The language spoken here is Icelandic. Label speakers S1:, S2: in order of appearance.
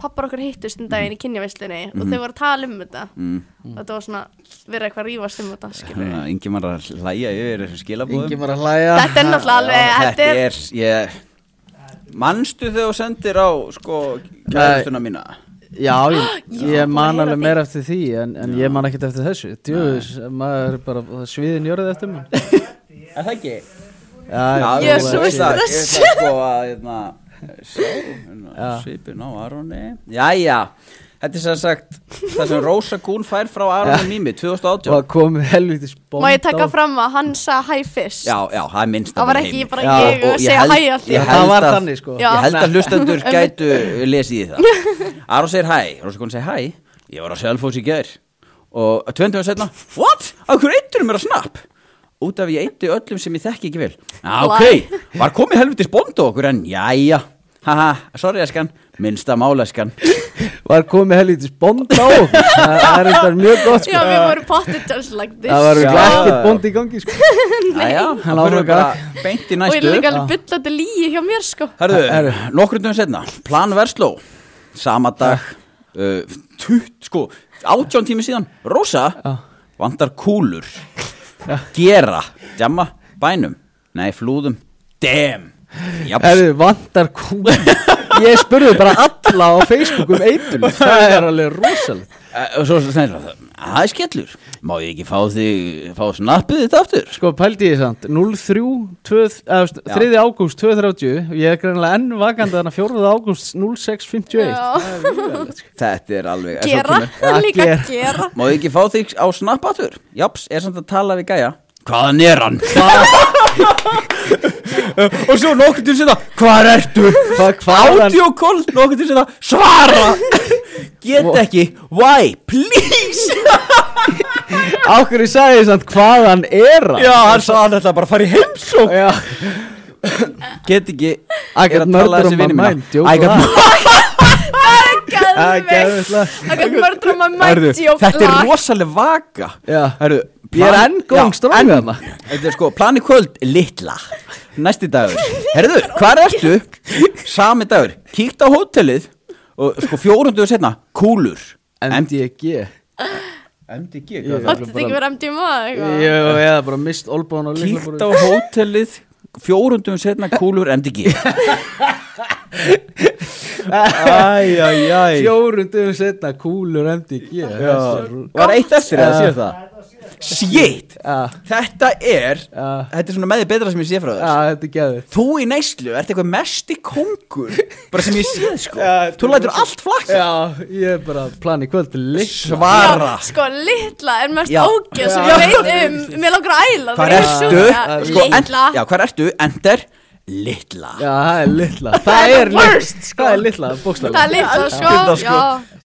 S1: pappar okkur hittust um daginn í kynjaveislinni og þau voru að tala um þetta
S2: mm.
S1: og þetta var svona verið eitthvað að rífast um þetta skilur við
S2: Ingi maður að hlæja yfir þessum skilabóðum
S3: Ingi var að hlæja
S1: Þetta er náttúrulega alveg,
S2: Já,
S1: þetta er
S2: ég, Manstu þegar þú sendir á sko, kærastuna mína
S3: Já, ég,
S1: Já,
S3: ég man
S1: búin að heyra
S3: alveg meira eftir því en, en ég man ekkert eftir þessu Djöðus, maður er bara sviðin jörðið eftir mig
S2: Er það ekki?
S3: Já,
S1: ég er
S3: þú
S1: svo veist
S3: veist það.
S1: það.
S2: Ég veist það sko að hérna, sjá, hérna,
S3: Já.
S2: svipin á Aroni Jæja, þetta er sem sagt það sem Rósa Kuhn fær frá Aroni Mimi 2018
S3: Og komið helviti spónd
S1: Má ég taka fram að hann sagði hi fyrst
S2: Já, já, það er minnst
S1: Það var ekki bara
S3: Já,
S1: ég að segja hæ alltaf
S3: ég- Það var þannig, sko.
S1: Já.
S2: Ég held að hlustendur gætu lesið í það Aron segir hæ, Rósa Kuhn segir hæ Ég var á Selfoss í gær Og 20 og setna, what? Af hverju eitturum er að snapp? Út af ég eittu öllum sem ég þekki ekki vel Já, ok, var komið helvitis bónd á okkur en jæja Haha, sorry eskan, minnsta máleskan
S3: Var komið helviti spónd á okkur. Það það er eitthvað mjög gott
S1: Já,
S3: sko.
S1: við vorum pottet just like this
S3: Það var
S2: Já.
S3: ekki bónd í gangi sko.
S2: Jæja,
S3: hann
S2: hann áfram
S3: áfram
S2: bara beint í
S1: Og ég
S2: næstu
S1: líka alveg byllandi líi hjá mér sko
S2: Herðu,
S3: Herðu.
S2: nokkur dögum setna Plan Versló, sama dag uh, tutt, sko 18 tími síðan, Rósa
S3: Já.
S2: Vandar kúlur Gera, djamma, bænum Nei, flúðum, dem Japs,
S3: Erðu, vantar kúli Ég spurði bara alla á Facebook um eitunum Það er alveg rosalega
S2: Eh, og svo snæður það Það er skellur, má ég ekki fá þig Fá snappið þitt aftur
S3: Sko pældi ég samt 03, 2, eða, þú veist,
S2: Já.
S3: 3. ágúst 2.30 Ég er greinlega enn vakandi þannig 4. ágúst
S1: Já.
S3: 06.51 Það er mjög vel, sko.
S2: Þetta er alveg en svo
S1: Gera,
S2: kemur-
S3: Já,
S1: líka
S3: gera.
S1: gera
S2: Má ég ekki fá þig á snapp aftur Japs, er samt að tala við gæja Hvaðan er hann? og svo nokkur til sinna Hvar ertu?
S3: Hvað- hvaðan-
S2: Audio call nokkur til sinna Svara Get ekki Why? Please
S3: Á hverju sagði ég samt hvaðan er hann
S2: Já, hann sagði hann ætlaði bara að fara í heimsók
S3: Já,
S2: Get ekki
S3: I got
S2: er að tala
S3: murder
S2: þessi
S3: on my
S2: vinur
S3: mind,
S2: mína.
S3: djók
S2: I got
S3: það.
S2: murder-
S3: Það er
S1: Gæðveikt
S3: geðveikt.
S1: I got murder on my mind
S2: Herðu,
S1: joke
S2: Þetta er
S1: lag.
S2: rosalega vaka
S3: Já.
S2: Herðu,
S3: Ég er
S2: plan-
S3: enn góðum
S2: Já,
S3: stráð með hana
S2: Þetta er sko, plani kvöld, litla Næsti dagur, herðu, hvar ertu? Sami dagur, kíkt á hótelið Og sko fjórundu og setna, kúlur
S3: MDG
S2: MDG,
S3: hvað er það?
S1: Átti þetta ekki verið MDMA eitthvað
S3: Ég eða bara mist olbán og
S2: Kíkt á hótelið, fjórundu og setna, kúlur, MDG Æjæjæj
S3: Fjórun dögum setna kúlur MDG
S2: Var eitt eftir eða séu það? Shit,
S3: Já,
S2: þetta er
S3: Já.
S2: Þetta er svona með því betra sem ég sé frá
S3: já,
S2: þess
S3: þetta er geðvitt
S2: Þú í neyslu ert eitthvað mesti kongur Bara sem ég séð sko
S3: Já,
S2: Þú lætur allt flaksa
S3: Já, ég er bara að plana í kvöld til litla
S2: Svara
S1: Já, Sko, litla er mest
S2: Já.
S1: ógjöð sem
S2: Já.
S1: ég veit um Mér langar að æla
S2: Hvar
S1: þegar ég
S2: ertu?
S1: sjúka.
S2: Sko, en,
S1: Litla
S2: já, hvar ertu? Ender Litla
S3: Já, það er litla
S1: Það
S3: Það
S1: er
S3: er litla
S1: worst, sko.
S3: Það er litla,
S1: Það er
S3: bókslega
S1: litla,
S2: Þetta,
S1: sko
S2: sko.
S1: Já